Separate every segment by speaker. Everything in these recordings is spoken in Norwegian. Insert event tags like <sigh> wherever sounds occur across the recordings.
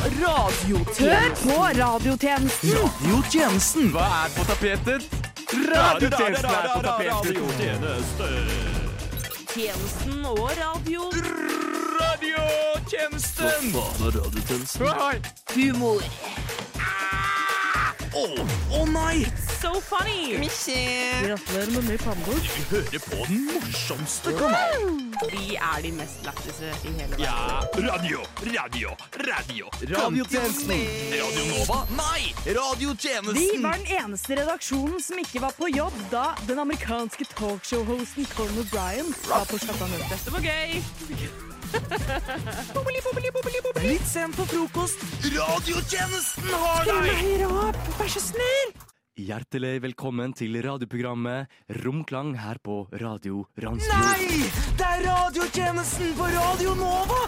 Speaker 1: Hør på radiotjenesten!
Speaker 2: Radiotjenesten. Hva er på tapetet? Radiotjenesten er på tapetet.
Speaker 1: Tjenesten og radio.
Speaker 2: Radiotjenesten! Hva faen er radiotjenesten?
Speaker 1: Humor.
Speaker 2: Å å nei!
Speaker 1: So funny! Gratulerer med ny pannebok.
Speaker 2: Vi hører på den morsomste kanalen.
Speaker 1: Vi er de mest lættise i hele verden.
Speaker 2: Ja, radio, radio, radio. Radiotjenesten. Radio Nova? Nei!
Speaker 3: Vi
Speaker 2: Radiotjenesten.
Speaker 3: var den eneste redaksjonen som ikke var på jobb da den amerikanske talkshow-hosten Colin O'Brien var på skattamøte.
Speaker 1: Det var
Speaker 3: <laughs>
Speaker 1: gøy!
Speaker 3: Litt sent på frokost.
Speaker 2: Radiotjenesten har deg!
Speaker 3: Høyre opp, vær så snill!
Speaker 4: Hjertelig velkommen til radioprogrammet Romklang her på Radio Randsfjord.
Speaker 2: Nei! Det er radiotjenesten på Radio Nova!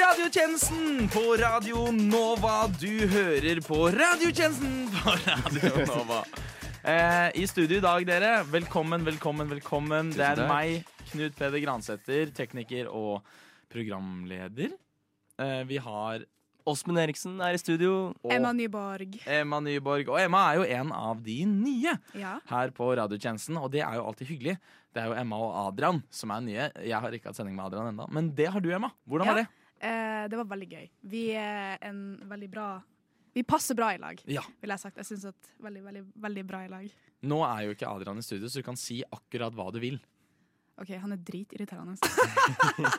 Speaker 2: Radiotjenesten på Radio Nova. Du hører på radiotjenesten på
Speaker 4: <laughs>
Speaker 2: Radio Nova. Eh, I studio i dag, dere. Velkommen, velkommen, velkommen. Det er
Speaker 4: takk.
Speaker 2: meg, Knut Peder Gransæter, tekniker og programleder. Eh, vi har
Speaker 4: Åsmund Eriksen er i studio.
Speaker 5: Emma Nyborg.
Speaker 2: Emma Nyborg. Og Emma er jo en av de nye
Speaker 5: Ja.
Speaker 2: her på radiotjenesten, og det er jo alltid hyggelig. Det er jo Emma og Adrian som er nye. Jeg har ikke hatt sending med Adrian ennå, men det har du, Emma. Hvordan var
Speaker 5: Ja.
Speaker 2: det?
Speaker 5: Eh, det var veldig gøy. Vi er en veldig bra Vi passer bra i lag,
Speaker 2: Ja.
Speaker 5: vil jeg sagt. Jeg syns at veldig, veldig, veldig bra i lag.
Speaker 2: Nå er jo ikke Adrian i studio, så du kan si akkurat hva du vil.
Speaker 5: OK, han er dritirriterende. altså.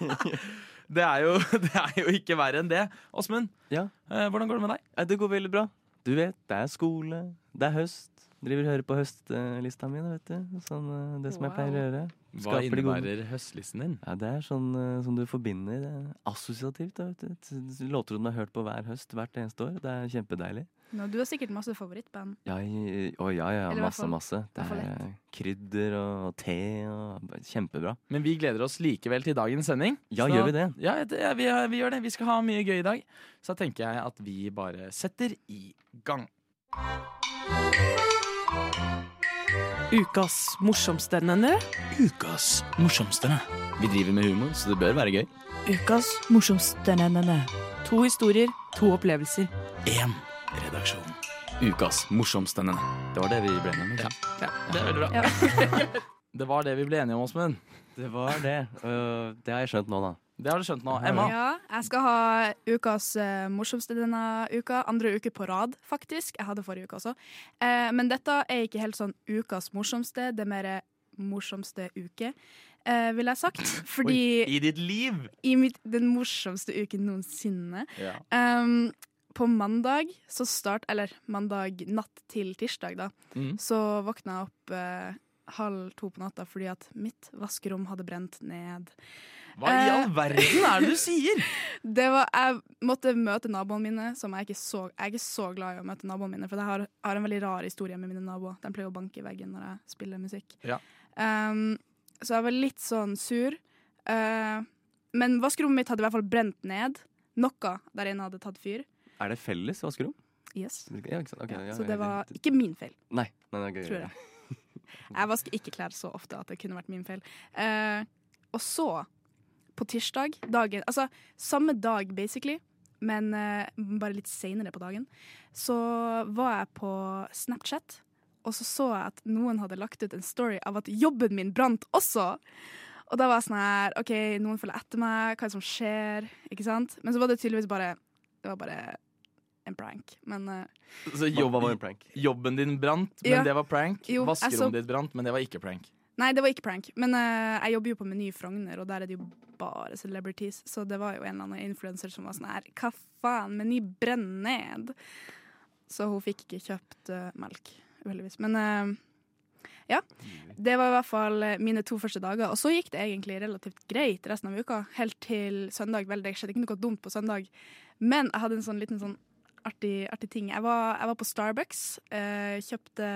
Speaker 2: Det er jo, <laughs> det er jo ikke verre enn det. Åsmund,
Speaker 4: Ja.
Speaker 2: eh, hvordan går det med deg?
Speaker 4: Eh, Det går veldig bra. Du vet, det er skole, det er høst. Driver og hører på høstlista mi, da, vet du. Sånn, eh, det som jeg
Speaker 5: Wow.
Speaker 4: pleier å gjøre.
Speaker 2: Hva
Speaker 4: Skaper de gode-
Speaker 2: innebærer høstlisten din?
Speaker 4: Ja, det er sånn eh, som du forbinder eh, assosiativt, da, vet du. T- Låter du har hørt på hver høst, hvert eneste år. Det er kjempedeilig.
Speaker 5: Nå, du har sikkert masse favorittband.
Speaker 4: Ja, i- å ja, ja.
Speaker 5: Eller i hvert
Speaker 4: Masse,
Speaker 5: fall-
Speaker 4: masse. Det
Speaker 5: hvert fall
Speaker 4: er
Speaker 5: ett.
Speaker 4: eh, krydder og te og bare Kjempebra.
Speaker 2: Men vi gleder oss likevel til dagens sending.
Speaker 4: Ja,
Speaker 2: Så-
Speaker 4: gjør vi det?
Speaker 2: Ja, det, ja, vi, vi gjør det. Vi skal ha mye gøy i dag. Så da tenker jeg at vi bare setter i gang.
Speaker 6: Ukas morsomste, nenne.
Speaker 2: Ukas morsomste.
Speaker 4: Vi driver med humor, så det bør være gøy.
Speaker 6: Ukas morsomste, nenne. To historier, to opplevelser.
Speaker 2: Én redaksjon.
Speaker 4: Ukas morsomste. Det var det vi ble med. Ja.
Speaker 2: Det er veldig bra. <laughs> det var det vi ble enige om, Åsmund.
Speaker 4: Det var det. og det har jeg skjønt nå, da.
Speaker 2: Det har du skjønt nå. Emma,
Speaker 5: Ja, jeg skal ha ukas eh, morsomste denne uka. Andre uke på rad, faktisk. Jeg hadde forrige uke også. Eh, men dette er ikke helt sånn ukas morsomste. Det er mer eh, morsomste uke, eh, vil jeg sagt. Fordi
Speaker 2: i ditt liv!
Speaker 5: i mitt, den morsomste uken noensinne Ehm, på mandag så start, eller mandag natt til tirsdag da,
Speaker 2: Mhm.
Speaker 5: så våkna jeg opp eh, halv to på natta fordi at mitt vaskerom hadde brent ned.
Speaker 2: Hva i
Speaker 5: Eh.
Speaker 2: all verden er det du sier?!
Speaker 5: Det var, jeg måtte møte naboene mine, som jeg ikke så, jeg er ikke så glad i å møte naboene mine, for jeg har, har en veldig rar historie med mine naboer. De pleier å banke i veggen når jeg spiller musikk.
Speaker 2: Ja.
Speaker 5: Ehm, så jeg var litt sånn sur. Eh, men vaskerommet mitt hadde i hvert fall brent ned. Noe der inne hadde tatt fyr.
Speaker 4: Er det felles vaskerom?
Speaker 5: Yes.
Speaker 4: Ja, ikke sant? Ok,
Speaker 5: ja,
Speaker 4: ja,
Speaker 5: så det
Speaker 4: jeg-
Speaker 5: var ikke min feil,
Speaker 4: Nei, nei, nei, gøy.
Speaker 5: tror jeg. Jeg vasker ikke klær så ofte at det kunne vært min feil. Eh, og så, på tirsdag, dagen Altså samme dag, basically, men eh, bare litt seinere på dagen, så var jeg på Snapchat, og så så jeg at noen hadde lagt ut en story av at jobben min brant også. Og da var jeg sånn her OK, noen følger etter meg, hva er det som skjer? Ikke sant? Men så var det tydeligvis bare Det var bare en prank. Men eh,
Speaker 2: <laughs> Så
Speaker 4: Hva
Speaker 2: jobben,
Speaker 4: var en prank?
Speaker 2: jobben din brant, men
Speaker 5: Ja.
Speaker 2: det var prank.
Speaker 5: Jo, altså- jeg så-
Speaker 2: Vaskerommet ditt brant, men det var ikke prank.
Speaker 5: Nei, det var ikke prank. Men eh, jeg jobber jo på Meny i Frogner, og der er det jo bare celebrities. Så det var jo en eller annen influenser som var sånn her Hva faen, Meny brenner ned! Så hun fikk ikke kjøpt eh, melk, uheldigvis. Men eh, ja. Det var i hvert fall eh, mine to første dager. Og så gikk det egentlig relativt greit resten av uka, helt til søndag. Vel, det skjedde ikke noe dumt på søndag, men jeg hadde en sånn liten sånn artig, artig ting. Jeg var, jeg var på Starbucks, eh, kjøpte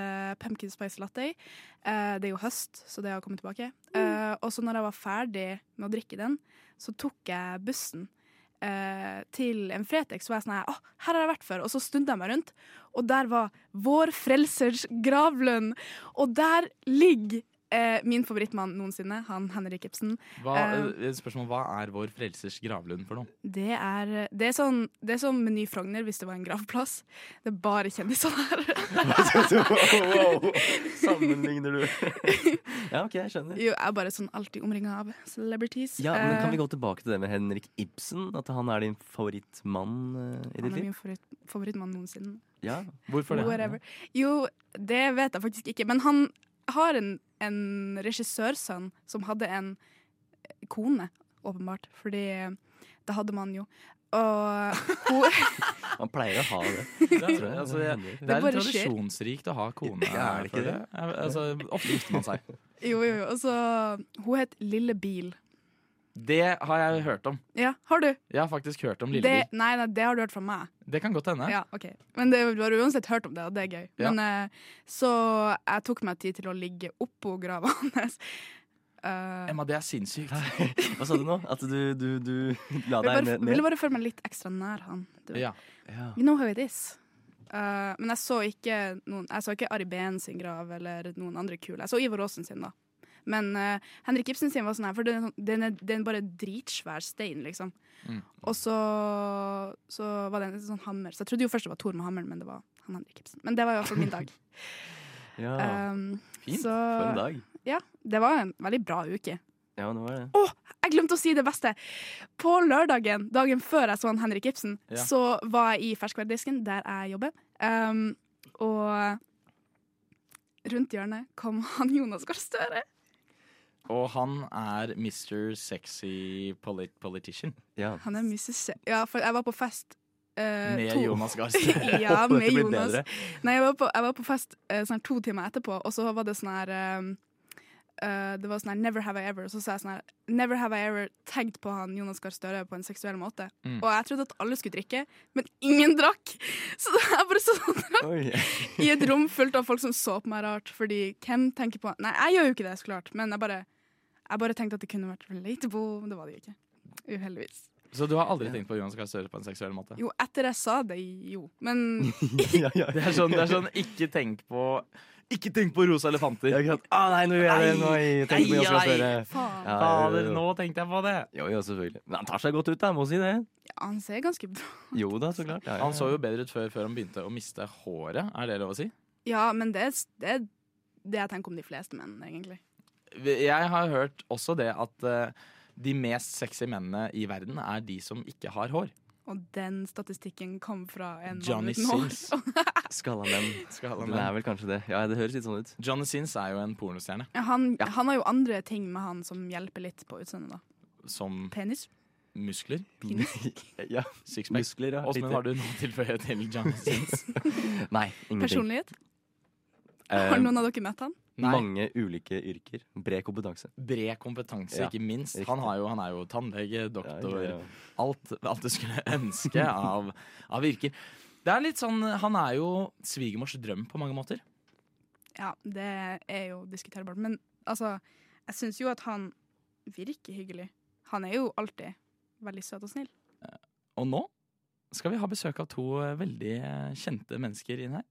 Speaker 5: pumpkin spice latte. Eh, det er jo høst, så det har kommet tilbake. Eh, og så når jeg var ferdig med å drikke den, så tok jeg bussen eh, til en Fretex. Så var jeg sånn her, «Åh, her har jeg vært før. Og så snudde jeg meg rundt, og der var Vår Frelsers gravlønn. Og der ligger eh, min favorittmann noensinne, han Henrik Ibsen.
Speaker 2: Hva,
Speaker 5: Eh,
Speaker 2: eh, spørsmål, hva er vår frelsers gravlund for noe?
Speaker 5: Det er, det er sånn Det er som Meny Frogner hvis det var en gravplass. Det er bare kjendiser der.
Speaker 4: wow. Sammenligner du Ja, OK, jeg skjønner.
Speaker 5: <laughs> jo, jeg er bare sånn alltid omringa av celebrities.
Speaker 4: Ja, men
Speaker 5: Eh.
Speaker 4: Kan vi gå tilbake til det med Henrik Ibsen? At han er din favorittmann eh, i
Speaker 5: Han
Speaker 4: ditt
Speaker 5: er
Speaker 4: liv?
Speaker 5: min favoritt, favorittmann noensinne.
Speaker 4: Ja,
Speaker 2: Hvorfor <laughs>
Speaker 5: Whatever. Jo, det vet jeg faktisk ikke. Men han har en, en regissørsønn som hadde en eh, kone, åpenbart. Fordi det hadde man jo. Og hun <laughs>
Speaker 4: Han pleier å ha det. tror
Speaker 2: Ja,
Speaker 4: jeg.
Speaker 2: <laughs>
Speaker 4: Eh,
Speaker 2: altså, jeg,
Speaker 4: Det
Speaker 2: det er
Speaker 5: bare
Speaker 2: litt
Speaker 5: skjer.
Speaker 2: tradisjonsrikt å ha kone.
Speaker 4: Ja, er det ikke
Speaker 2: for
Speaker 4: det?
Speaker 2: Ja, Altså, ofte gifter <laughs> man seg.
Speaker 5: Jo, jo, jo. Og så Hun het Lille Bil.
Speaker 2: Det har jeg hørt om.
Speaker 5: Ja, har du?
Speaker 2: Jeg har faktisk hørt om
Speaker 5: det,
Speaker 2: Lillebil.
Speaker 5: nei, nei, det har du hørt fra meg.
Speaker 2: Det, kan godt hende.
Speaker 5: Ja, ok. Men det, du har uansett hørt om det, og det er gøy.
Speaker 2: Ja.
Speaker 5: Men, eh, så jeg tok meg tid til å ligge oppå grava <laughs> hans. Eh,
Speaker 2: Emma, det er sinnssykt.
Speaker 4: Hva sa du nå? At du, du, du la
Speaker 5: jeg
Speaker 4: deg
Speaker 5: bare,
Speaker 4: ned?
Speaker 5: ville
Speaker 4: ned?
Speaker 5: bare føle meg litt ekstra nær han. Du vet.
Speaker 2: <laughs> Ja.
Speaker 4: Ja.
Speaker 5: You know how it is. Eh, men jeg så ikke noen Jeg så ikke Ari Behn sin grav eller noen andre kule. Jeg så Ivar Aasen sin, da. Men eh, Henrik Ibsen sin var sånn her, for den, er sånn- den, er, den er bare dritsvær stein, liksom.
Speaker 2: Mm.
Speaker 5: Og så, så var det en sånn hammer. Så jeg trodde jo først det var Thor med hammeren, men det var han Henrik Ibsen. Men det var i hvert fall min
Speaker 2: <laughs>
Speaker 5: dag.
Speaker 4: ja.
Speaker 5: Um,
Speaker 2: Fint.
Speaker 5: Så
Speaker 4: For en dag.
Speaker 5: ja, det var en veldig bra uke.
Speaker 4: Ja, det var det.
Speaker 5: Jeg glemte å si det beste. På lørdagen, dagen før jeg så han Henrik Ibsen,
Speaker 2: Ja.
Speaker 5: så var jeg i ferskværdisken, der jeg jobber. Um, og rundt hjørnet kom <laughs> han Jonas Gahr Støre.
Speaker 2: Og han er Mr. Sexy polit Politician.
Speaker 4: Ja.
Speaker 5: Han er mye se- Ja, for jeg var på fest. eh,
Speaker 2: Med
Speaker 5: to-
Speaker 2: Jonas Gahr
Speaker 5: <laughs>
Speaker 2: Støre.
Speaker 5: ja,
Speaker 2: <laughs>
Speaker 4: Dette
Speaker 5: med
Speaker 4: blir
Speaker 5: Jonas. <laughs>
Speaker 4: bedre.
Speaker 5: Nei, jeg var på, jeg var på fest eh, sånn her to timer etterpå, og så var det sånn her ehm, eh, Det var sånn her 'Never have I ever', og så sa jeg sånn her 'Never have I ever' tagged på han Jonas Gahr Støre på en seksuell måte.
Speaker 2: Mm.
Speaker 5: Og jeg trodde at alle skulle drikke, men ingen drakk! <laughs> Så jeg bare stod sånn
Speaker 4: Oi.
Speaker 5: i et rom fullt av folk som så på meg rart, fordi hvem tenker på Nei, jeg gjør jo ikke det, så klart, men jeg bare, jeg bare tenkte at det kunne vært relatable, men det var det jo ikke. Uheldigvis.
Speaker 2: Så du har aldri tenkt på Jonas Gahr Støre på en seksuell måte?
Speaker 5: Jo, etter jeg sa det, jo. Men
Speaker 4: ja, ja.
Speaker 2: Det er sånn, det er sånn ikke tenk på Ikke tenk på rosa elefanter.
Speaker 4: Ja, ikke sant. Ah, nei, nå gjør jeg det! Nå jeg tenker på
Speaker 2: Nei,
Speaker 4: Jonas Gahr Støre.
Speaker 2: nei.
Speaker 5: faen.
Speaker 4: Ja, jo,
Speaker 2: Fader,
Speaker 4: jo, jo.
Speaker 2: nå tenkte jeg på det!
Speaker 4: Jo, jo, selvfølgelig. Men han tar seg godt ut, da. Må si det.
Speaker 5: Han ser ganske bra
Speaker 4: Jo da, så klart. Ja, ja.
Speaker 2: Han så jo bedre ut før, før han begynte å miste håret. Er det lov å si?
Speaker 5: Ja, men det, er- det er det jeg tenker om de fleste menn, egentlig.
Speaker 2: Jeg har hørt også det at eh, de mest sexy mennene i verden er de som ikke har hår.
Speaker 5: Og den statistikken kom fra en
Speaker 2: Johnny
Speaker 5: mann
Speaker 2: Sins.
Speaker 5: uten hår.
Speaker 4: Skalla menn.
Speaker 2: Skal alle
Speaker 4: Det er
Speaker 2: med.
Speaker 4: vel kanskje det. Ja, det høres litt sånn ut. <laughs>
Speaker 2: Johnny Sins er jo en pornostjerne
Speaker 5: Han, han har jo andre ting med han som hjelper litt på utseendet, da.
Speaker 2: som <laughs>
Speaker 5: Penis.
Speaker 2: muskler.
Speaker 4: ja,
Speaker 2: Sixpack.
Speaker 4: muskler, ja.
Speaker 2: Åsmund,
Speaker 4: Lite-
Speaker 2: har du noe å tilføye til Johnny Sins?
Speaker 4: Nei, ingenting.
Speaker 5: Personlighet.
Speaker 2: Um,
Speaker 4: Eh,
Speaker 5: Har noen av dere møtt han?
Speaker 2: Nei.
Speaker 4: mange ulike yrker. Bred kompetanse.
Speaker 2: Bred kompetanse,
Speaker 4: Ja,
Speaker 2: ikke minst.
Speaker 4: riktig.
Speaker 2: Han, har jo, han er jo tannlege,
Speaker 4: Ja,
Speaker 2: doktor,
Speaker 4: ja, ja.
Speaker 2: Alt, alt du skulle <laughs> ønske av, av yrker. Det er litt sånn, Han er jo svigermors drøm på mange måter.
Speaker 5: Ja, det er jo diskuterbart. Men altså, jeg syns jo at han virker hyggelig. Han er jo alltid veldig søt og snill.
Speaker 2: Og nå skal vi ha besøk av to eh, veldig eh, kjente mennesker inn her.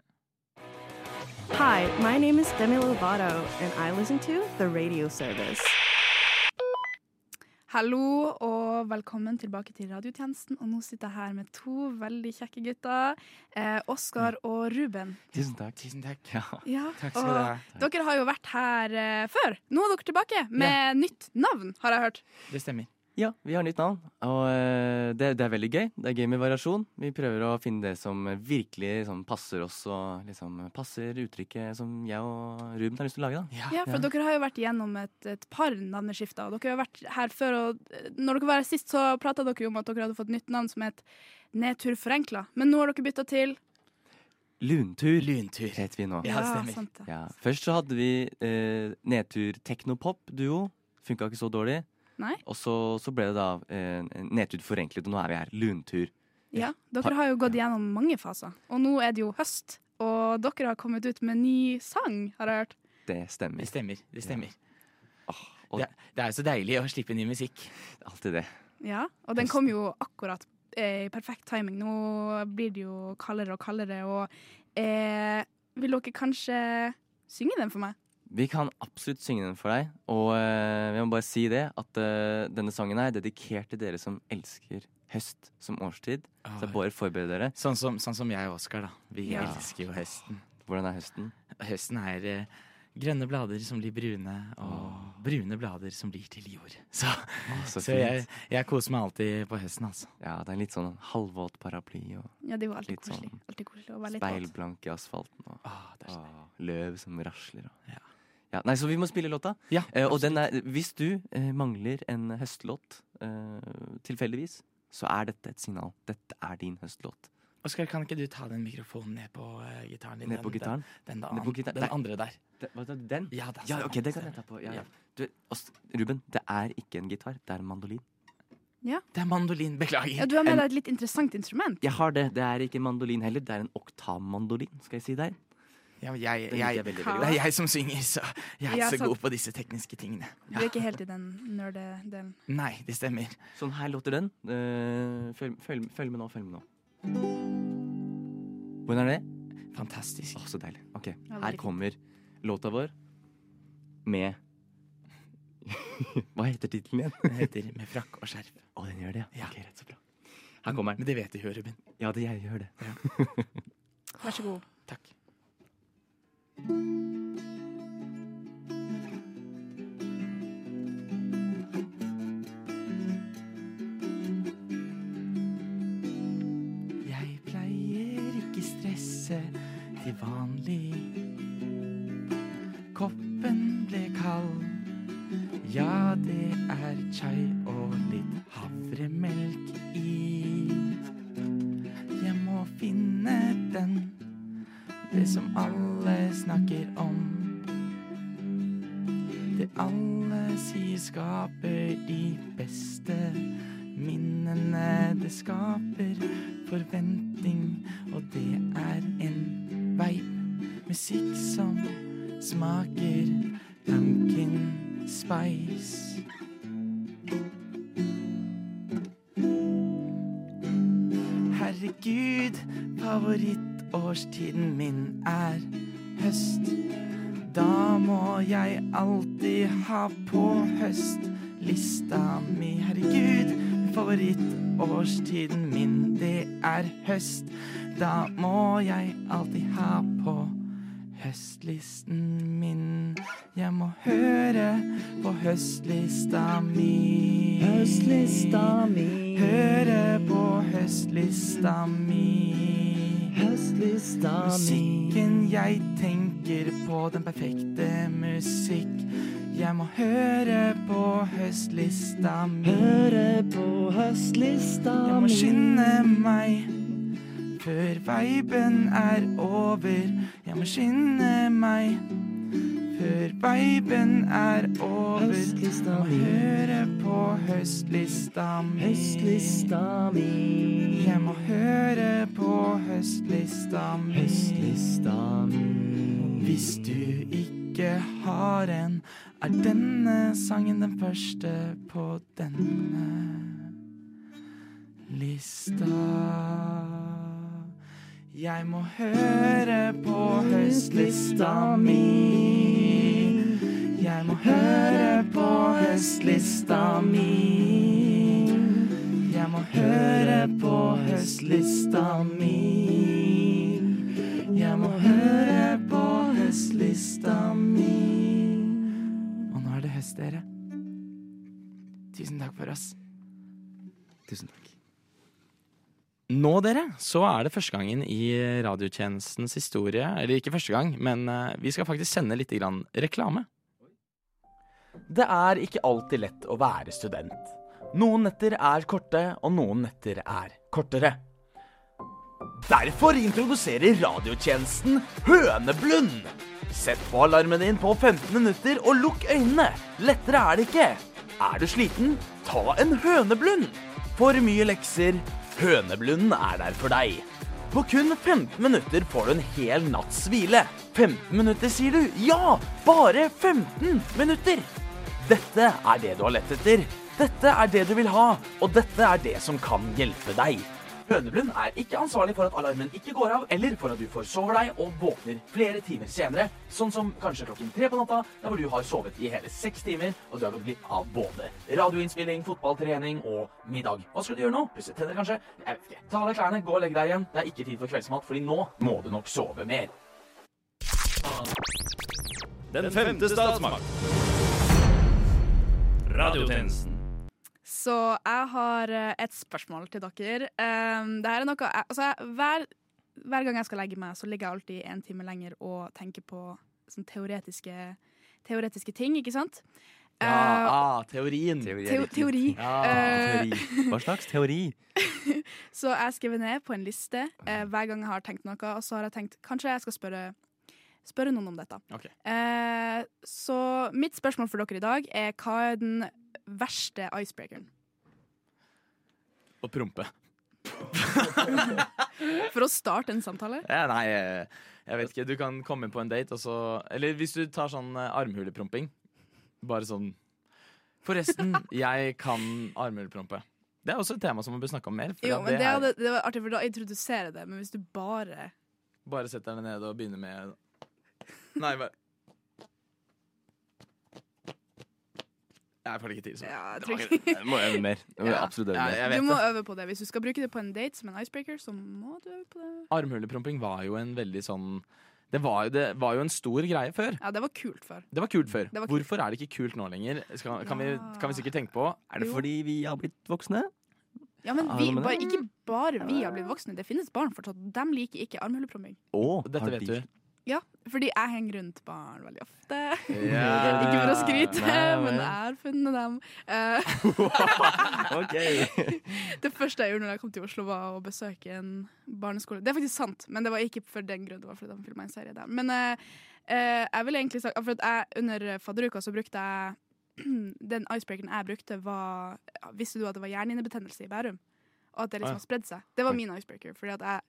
Speaker 1: Hi, my name is Demi Lovato, and I listen to the radio service.
Speaker 5: Hallo og velkommen tilbake til radiotjenesten. Og nå sitter jeg her med to veldig kjekke gutter. Eh, Oskar og Ruben.
Speaker 4: Tusen takk. <laughs>
Speaker 5: Ja,
Speaker 4: Ja.
Speaker 2: Og-
Speaker 5: og Dere har jo vært her eh, før. Nå er dere tilbake med nytt navn, har jeg hørt.
Speaker 2: Det stemmer.
Speaker 4: ja, vi har nytt navn, og eh, det, det er veldig gøy. Det er gøy med variasjon. Vi prøver å finne det som virkelig liksom, passer oss, og liksom passer uttrykket som jeg og Ruben har lyst til å lage, da.
Speaker 5: Ja, for dere har jo vært igjennom et, et par navneskifter. Og dere har vært her før, og eh, når dere var her sist, så prata dere jo om at dere hadde fått nytt navn som het Nedtur forenkla. Men nå har dere bytta til
Speaker 4: Luntur
Speaker 2: Luntur.
Speaker 4: heter vi nå.
Speaker 2: Ja, det stemmer.
Speaker 5: sant det.
Speaker 4: Ja. Først så hadde vi eh, nedtur teknopop-duo. Funka ikke så dårlig.
Speaker 5: Nei.
Speaker 4: Og så, så ble det da eh, nedtur forenklet, og nå er vi her. Luntur.
Speaker 5: Ja, dere har jo gått igjennom mange faser. Og nå er det jo høst, og dere har kommet ut med ny sang, har jeg hørt.
Speaker 4: Det stemmer.
Speaker 2: Det stemmer. Det stemmer.
Speaker 4: og-
Speaker 2: Det, det er jo så deilig å slippe ny musikk.
Speaker 4: Alltid det.
Speaker 5: Ja, og den kom jo akkurat eh, i perfekt timing. Nå blir det jo kaldere og kaldere, og eh, vil dere kanskje synge den for meg?
Speaker 4: Vi kan absolutt synge den for deg, og eh, jeg må bare si det, at eh, denne sangen er dedikert til dere som elsker høst som årstid.
Speaker 2: Ah,
Speaker 4: Så jeg bare forbereder dere.
Speaker 2: Sånn som, sånn som jeg og Oskar, da. Vi
Speaker 5: Ja.
Speaker 2: elsker jo høsten.
Speaker 4: Hvordan er høsten?
Speaker 2: Høsten er eh, grønne blader som blir brune, og brune blader som blir til jord. Så,
Speaker 4: Å, så
Speaker 2: så, jeg,
Speaker 4: fint.
Speaker 2: jeg koser meg alltid på høsten, altså.
Speaker 4: Ja, det er litt sånn halvvåt paraply og
Speaker 5: Ja, det er jo alltid
Speaker 4: Litt
Speaker 5: koselig.
Speaker 4: sånn
Speaker 5: Alltid koselig å være litt våt.
Speaker 4: speilblank i asfalten og
Speaker 2: Åh, Ah, det er så
Speaker 4: Åh, løv som rasler og
Speaker 2: Ja.
Speaker 4: Ja, nei, så vi må spille låta.
Speaker 2: Ja,
Speaker 4: Eh, og den er, hvis du eh, mangler en høstlåt eh, tilfeldigvis, så er dette et signal. Dette er din høstlåt.
Speaker 2: Oskar, kan ikke du ta den mikrofonen ned på eh, gitaren din?
Speaker 4: Ned på
Speaker 2: Den-
Speaker 4: gitaren.
Speaker 2: Den, den,
Speaker 4: Ned på gitaren.
Speaker 2: den
Speaker 4: Der.
Speaker 2: andre der.
Speaker 4: Det- hva sa du, Den?
Speaker 2: Ja, da,
Speaker 4: Ja,
Speaker 2: så-
Speaker 4: ok, det kan jeg ta på. Ja,
Speaker 2: Ja.
Speaker 4: ja. Du, Ås- Ruben, det er ikke en gitar, det er en mandolin.
Speaker 2: Det er mandolin, beklager.
Speaker 5: Ja, du har med deg et litt interessant instrument.
Speaker 4: Jeg har det. Det er ikke en mandolin heller, det er en oktavmandolin, skal jeg si deg.
Speaker 2: Ja, men
Speaker 4: Den
Speaker 2: jeg,
Speaker 4: liker jeg
Speaker 2: jeg,
Speaker 4: veldig,
Speaker 5: veldig
Speaker 2: det er jeg som synger, så jeg er
Speaker 5: Ja,
Speaker 2: så
Speaker 5: sant.
Speaker 2: god på disse tekniske tingene.
Speaker 5: Du er ikke helt i den nerdedelen.
Speaker 2: Nei, det stemmer.
Speaker 4: Sånn her låter den. Eh, følg, følg, følg med nå, følg med nå. Hvordan er det?
Speaker 2: Fantastisk.
Speaker 4: Å, så deilig. Ok,
Speaker 5: veldig
Speaker 4: her
Speaker 5: fint.
Speaker 4: kommer låta vår med <laughs> Hva heter tittelen igjen?
Speaker 2: Den heter Med frakk og skjerf.
Speaker 4: Å, den gjør det,
Speaker 2: Ja.
Speaker 4: Ok, rett så bra. Her kommer den.
Speaker 2: Men det vet du jo, Ruben.
Speaker 4: Ja, det jeg gjør det.
Speaker 5: Vær så god.
Speaker 2: Takk. Jeg pleier ikke stresse til vanlig. Koppen ble kald. Ja, det er chai og litt havremelk i. Jeg må finne den det som alle snakker om. Det alle sier skaper de beste minnene det skaper. Forventning, og det er en vibe. Musikk som smaker pumpkin spice. Herregud, favorittårstiden min er høst. Da må jeg alltid ha på høstlista mi. Herregud, favorittårstiden min, det er høst. Da må jeg alltid ha på høstlisten min. Jeg må høre på høstlista mi. Høstlista mi. Høre på høstlista mi. Høstlista mi. Musikken jeg tenker på, den perfekte musikk. Jeg må høre på høstlista mi. Høre på høstlista mi. Jeg må skynde meg før viben er over. Jeg må skynde meg før viben er over. Høstlista mi. Høre på høstlista mi. Høstlista mi. Jeg må høre på høstlista mi. Høstlista mi. Hvis du ikke har en, er denne sangen den første på denne lista. Jeg må høre på høstlista mi. Jeg må høre på høstlista mi. Jeg må høre på høstlista mi. Jeg må høre på høstlista mi. Og nå er det høst, dere. Tusen takk for oss.
Speaker 4: Tusen takk.
Speaker 2: Nå, dere, så er det første gangen i radiotjenestens historie Eller ikke første gang, men eh, vi skal faktisk sende litt grann reklame.
Speaker 7: Det er ikke alltid lett å være student. Noen netter er korte, og noen netter er kortere. Derfor introduserer radiotjenesten Høneblund. Sett på alarmen din på 15 minutter og lukk øynene. Lettere er det ikke. Er du sliten, ta en høneblund. For mye lekser. Høneblunden er der for deg. På kun 15 minutter får du en hel natts hvile. 15 minutter, sier du? Ja, bare 15 minutter. Dette er det du har lett etter. Dette er det du vil ha, og dette er det som kan hjelpe deg.
Speaker 8: Høneblund er ikke ansvarlig for at alarmen ikke går av, eller for at du forsover deg og våkner flere timer senere, sånn som kanskje klokken tre på natta, der hvor du har sovet i hele seks timer, og du har gått glipp av både radioinnspilling, fotballtrening og middag. Hva skal du gjøre nå? Pusse tenner, kanskje? Jeg vet ikke. Ta av deg klærne, gå og legg deg igjen. Det er ikke tid for kveldsmat, fordi nå må du nok sove mer.
Speaker 9: Den femte statsmakt. Radiotjenesten.
Speaker 5: Så jeg har eh, et spørsmål til dere. Um, det her er noe jeg, altså, jeg- hver, hver gang jeg skal legge meg, så ligger jeg alltid en time lenger og tenker på sånn teoretiske, teoretiske ting, ikke sant? Eh,
Speaker 2: Ja, ah, teorien.
Speaker 5: Teo- teori.
Speaker 4: Ja,
Speaker 5: Eh,
Speaker 4: teori. Hva slags teori?
Speaker 5: Så jeg skrev ned på en liste eh, hver gang jeg har tenkt noe, og så har jeg tenkt kanskje jeg skal spørre, spørre noen om dette.
Speaker 2: Ok.
Speaker 5: Eh, så mitt spørsmål for dere i dag er hva er den verste icebreakeren?
Speaker 2: Og prompe.
Speaker 5: For å starte en samtale?
Speaker 2: Ja, nei, eh, jeg vet ikke. Du kan komme på en date, og så Eller hvis du tar sånn eh, armhulepromping. Bare sånn
Speaker 5: <laughs>
Speaker 2: Forresten, jeg kan armhuleprompe. Det er også et tema som man bør snakke om mer. For
Speaker 5: Jo,
Speaker 2: at
Speaker 5: men
Speaker 2: det
Speaker 5: det,
Speaker 2: er,
Speaker 5: hadde, det var artig, for da introduserer jeg det, men hvis du bare
Speaker 2: Bare sett deg ned og begynne med Nei, bare Jeg får det ikke til. Så.
Speaker 5: Ja, jeg
Speaker 2: Det
Speaker 5: tror
Speaker 2: var
Speaker 5: ikke-
Speaker 2: ikke-
Speaker 4: Jeg må øve mer. Jeg må
Speaker 2: Ja.
Speaker 4: absolutt øve
Speaker 2: Ja,
Speaker 4: mer.
Speaker 5: <laughs>
Speaker 2: jeg
Speaker 5: Du
Speaker 2: vet
Speaker 5: må
Speaker 2: det.
Speaker 5: øve på det. Hvis du skal bruke det på en date som en icebreaker, så må du øve på det.
Speaker 2: Armhulepromping var jo en veldig sånn det var, jo- det var jo en stor greie før.
Speaker 5: Ja, det var kult før.
Speaker 2: Det var kult før.
Speaker 5: Mm. Det var kult.
Speaker 2: Hvorfor er det ikke kult nå lenger? Skal, kan, vi, kan vi sikkert tenke på.
Speaker 4: Er det
Speaker 5: Jo.
Speaker 4: fordi vi har blitt voksne?
Speaker 5: Ja, men
Speaker 4: Ja,
Speaker 5: vi,
Speaker 4: men det-
Speaker 5: bare, ikke bare vi har blitt voksne. Det finnes barn fortsatt. De liker ikke armhulepromming.
Speaker 4: Å,
Speaker 2: Dette
Speaker 4: <laughs>
Speaker 2: vet du.
Speaker 5: Ja, fordi jeg henger rundt barn veldig ofte.
Speaker 2: Ja.
Speaker 5: <laughs> Ikke for å skryte,
Speaker 4: Eh, Nei,
Speaker 5: men
Speaker 4: men-
Speaker 5: jeg har funnet dem. Eh,
Speaker 4: Ok.
Speaker 5: det første jeg gjorde når jeg kom til Oslo, var å besøke en barneskole. Det er faktisk sant, men det var ikke for den grunn. Det var fordi de filma en serie der. Men eh, eh, jeg vil egentlig sagt, for at jeg, under fadderuka så brukte jeg <clears throat> Den icebreakeren jeg brukte, var Visste du at det var hjernehinnebetennelse i Bærum? Og at det
Speaker 2: Ah,
Speaker 5: liksom
Speaker 2: ja.
Speaker 5: har spredd seg. Det var min icebreaker, fordi at jeg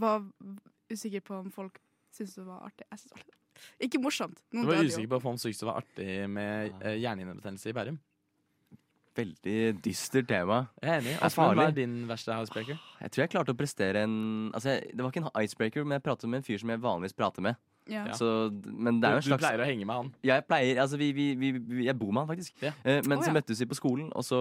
Speaker 5: var usikker på om folk syntes det var artig. Jeg synes det var litt- ikke morsomt.
Speaker 2: Du
Speaker 5: Noen
Speaker 2: var
Speaker 5: døde jo.
Speaker 2: usikker på om sykt det var artig med eh, hjernehinnebetennelse i Bærum.
Speaker 4: Veldig dystert tema.
Speaker 2: Jeg er enig.
Speaker 4: er
Speaker 2: Aspen, hva er
Speaker 4: farlig.
Speaker 2: din verste housebreaker?
Speaker 4: Jeg tror jeg klarte å prestere en Altså, jeg, Det var ikke en icebreaker, men jeg pratet med en fyr som jeg vanligvis prater med.
Speaker 5: Ja.
Speaker 2: Ja.
Speaker 4: Så, men
Speaker 2: Du,
Speaker 4: det er jo en
Speaker 2: du
Speaker 4: slags
Speaker 2: pleier å henge med han.
Speaker 4: Jeg pleier, altså vi, vi, vi, vi Jeg bor med han faktisk
Speaker 2: Ja.
Speaker 4: Eh, Men
Speaker 5: Å,
Speaker 4: så
Speaker 5: ja.
Speaker 4: møttes vi på skolen Og så,